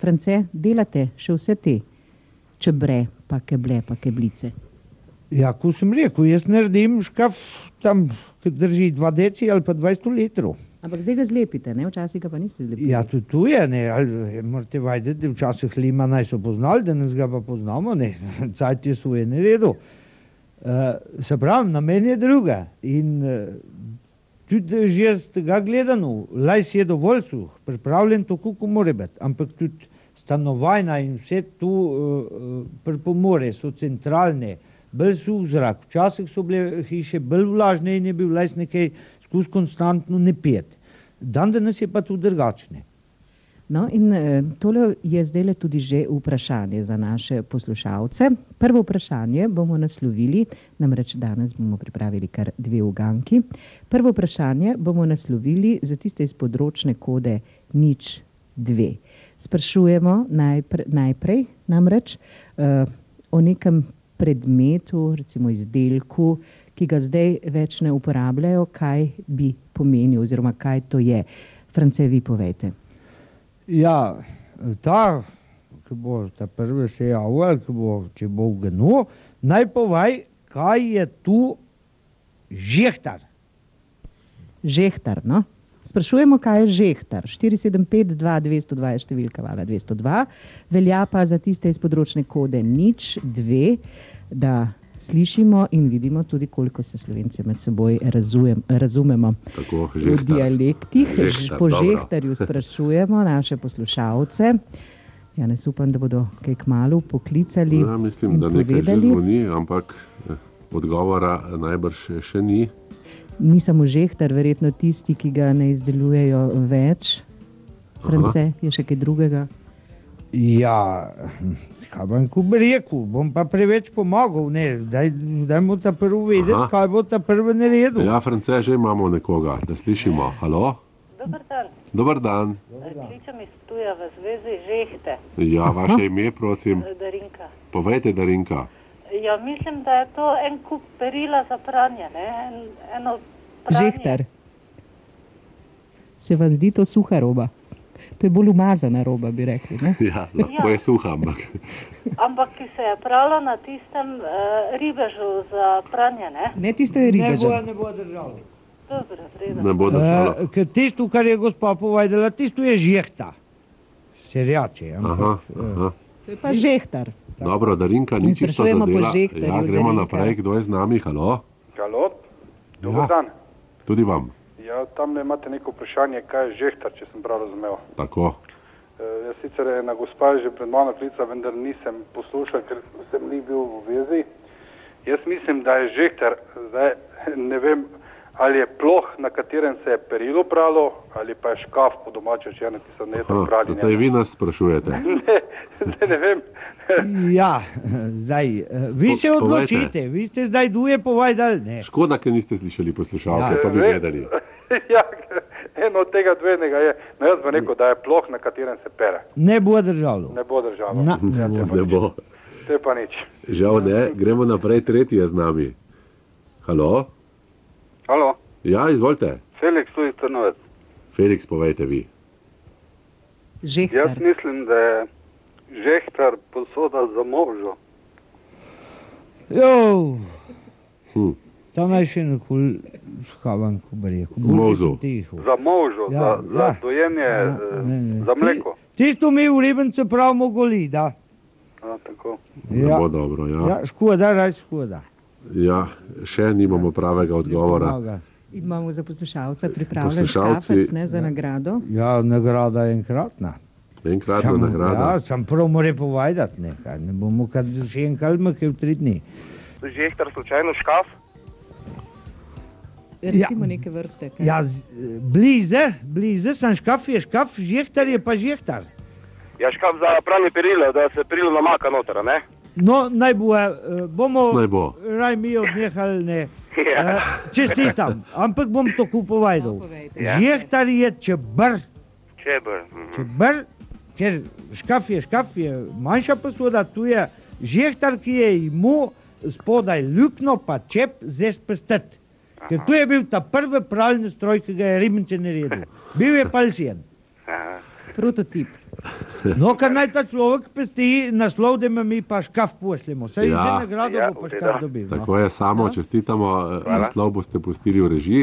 France, delate še vse te čebre, pa keble, pa keblice. Ja, ko sem rekel, jaz naredim škaf tam, ki drži 2 deci ali pa 20 litrov. Ampak zdaj ga zlepite, ne? včasih ga pa niste zlepili. Ja, tudi tu je, ne, ali morate vedeti, včasih Lima naj so poznali, danes ga pa poznamo, ne, cajt je svoje ne redu. Uh, se pravi, namen je druga in uh, tudi že z tega gledano, lajs je dovolj suh, pripravljen tako, kot mora biti, ampak tudi stanovanja in vse tu uh, pripomore, so centralne, bolj suh zrak, včasih so bile hiše bolj vlažne in je bil lajs nekaj skus konstantno ne pet. Dan danes je pa tu drugačne. No, in eh, tole je zdaj le tudi že vprašanje za naše poslušalce. Prvo vprašanje bomo naslovili, namreč danes bomo pripravili kar dve uganki. Prvo vprašanje bomo naslovili za tiste iz področne kode nič dve. Sprašujemo najpre, najprej namreč eh, o nekem predmetu, recimo izdelku, ki ga zdaj več ne uporabljajo, kaj bi pomenil oziroma kaj to je. France, vi povejte. Ja, ta, ki bo ta prvi se javil, ki bo, če bo ugnil, naj povaj, kaj je tu žehtar. Žehtar, no? Sprašujemo, kaj je žehtar. 475-2202 je številka, vala 202. Velja pa za tiste iz področne kode nič, dve, da slišimo in vidimo tudi, koliko se slovenci med seboj razujem, razumemo. Tako, v žehtar. dialektih, Žehtar, po dobro. žehtarju sprašujemo naše poslušalce. Ja, ne upam, da bodo kaj kmalo poklicali. Ja, mislim, in da nekaj že povedali. zvoni, ampak eh, odgovora najbrž še ni. Ni samo žehtar, verjetno tisti, ki ga ne izdelujejo več. France je še kaj drugega. Ja, kaj bom ko bi rekel, bom pa preveč pomagal, ne, daj, daj mu ta prvi vedeti, Aha. kaj bo ta prvi naredil. Ja, France, že imamo nekoga, da slišimo. Halo? Dobar dan, Dobar dan. kličem iz Ptuja v zvezi žehte, Ja, vaše ime, prosim, Darinka. povejte, Darinka. Ja, mislim, da je to en kup perila za pranje, ne? En, eno pranje. Žehtar. Se vam zdi to suha roba? To je bolj umazana roba, bi rekli. Ne? Ja, lahko Ja. je suha, ampak Ampak ki se je pralo na tistem uh, ribežu za pranje, ne? Ne tisto je ne bo, ribežen. ne bo držal. Dobro, vredno. ne bo držalo. Eh, E, ker tisto, kar je gospa povedala, tisto je žehta. Serjače, ampak. Aha, eh, aha. To je pa žehtar. Dobro, Darinka, ni Mi čisto sprašujemo po zadela. žehtarju, Ja, gremo Darinka. naprej, kdo je z nami, halo? Halo, dober Ja. ja. dan. Tudi vam. Ja, tam le imate neko vprašanje, kaj je žehtar, če sem prav razumel. Tako. E, jaz sicer je ena gospa je že pred mano klica, vendar nisem poslušal, ker sem ni bil v vezi. Jaz mislim, da je žehtar, zdaj ne vem, ali je ploh, na katerem se je perilo pralo, ali pa je škaf po domače rečeno, ki so neto Aha, prali. zdaj Ne, vi nas sprašujete. ne, zdaj ne vem. Ja, zdaj, eh, vi Po- se povejte. odločite, vi ste zdaj duje povedali, ne. Škoda, ker niste slišali poslušalke, Ja. pa bi Ve- gledali. ja, eno od tega dvenega je. No, jaz bi rekel, da je ploh, na katerem se pere. Ne bo držalo. Ne bo držalo. Na, ne bo. Ne bo. Te pa nič. Žal ne, gremo naprej, tretji je z nami. Halo? Halo, Ja, izvolite. Felix Luis Trnovec. Felix, povejte vi. Žehtar. mislim, da je žehtar posoda za možo. Jo, Hm. tam naj še nikoli skavam, ko bi rekel. Molzu. Tiho. Za e, možo, Ja, za- za ja. dojenje, Ja, ne, ne. Ti, tisto mi v ribencu pravimo golida. A, tako. Ne Ja. bo dobro, ja. Ja, škoda, raj škoda. Ja, še nimamo pravega Ne odgovora. pomaga. In Imamo za poslušalca pripravljen Poslušalci- škafec ne, za nagrado. Ja, nagrada je enkratna. Enkratna Samo- Ja, nagrada. sam prav mora povedati nekaj, ne bomo kar še enkrat mrkli v tri dni. Žehtar slučajno škaf? Ja, Recimo neke vrste. kaj? Ja, z- bliže, bliže sem škaf, je škaf, žehtar je pa žehtar. Ja, škaf za pranje perila, da se perilo namaka noter, ne? No, naj bo, eh, bomo Naj bo. raj mi odnehali, ne. Eh, Čestitam, ampak bom to Ja. No, kupoval. povejte. Žehtar je čebr, Čebr. čebr, ker škaf je škaf, je manjša posoda, tu je žehtar, ki je imu spodaj luknjo, pa čep zez prstet. Ker tu je bil ta prvi pralni stroj, ki ga je Rimče naredil. Bil je palsijen. Prototip. No, kar naj ta človek pesti naslov, da ima mi pa škaf pošljemo. Saj Ja. ja. že nagrado Ja, bo pa v redu. škaf dobil. Tako je, samo Ja. čestitamo, Hvala. naslov boste pustili v režiji.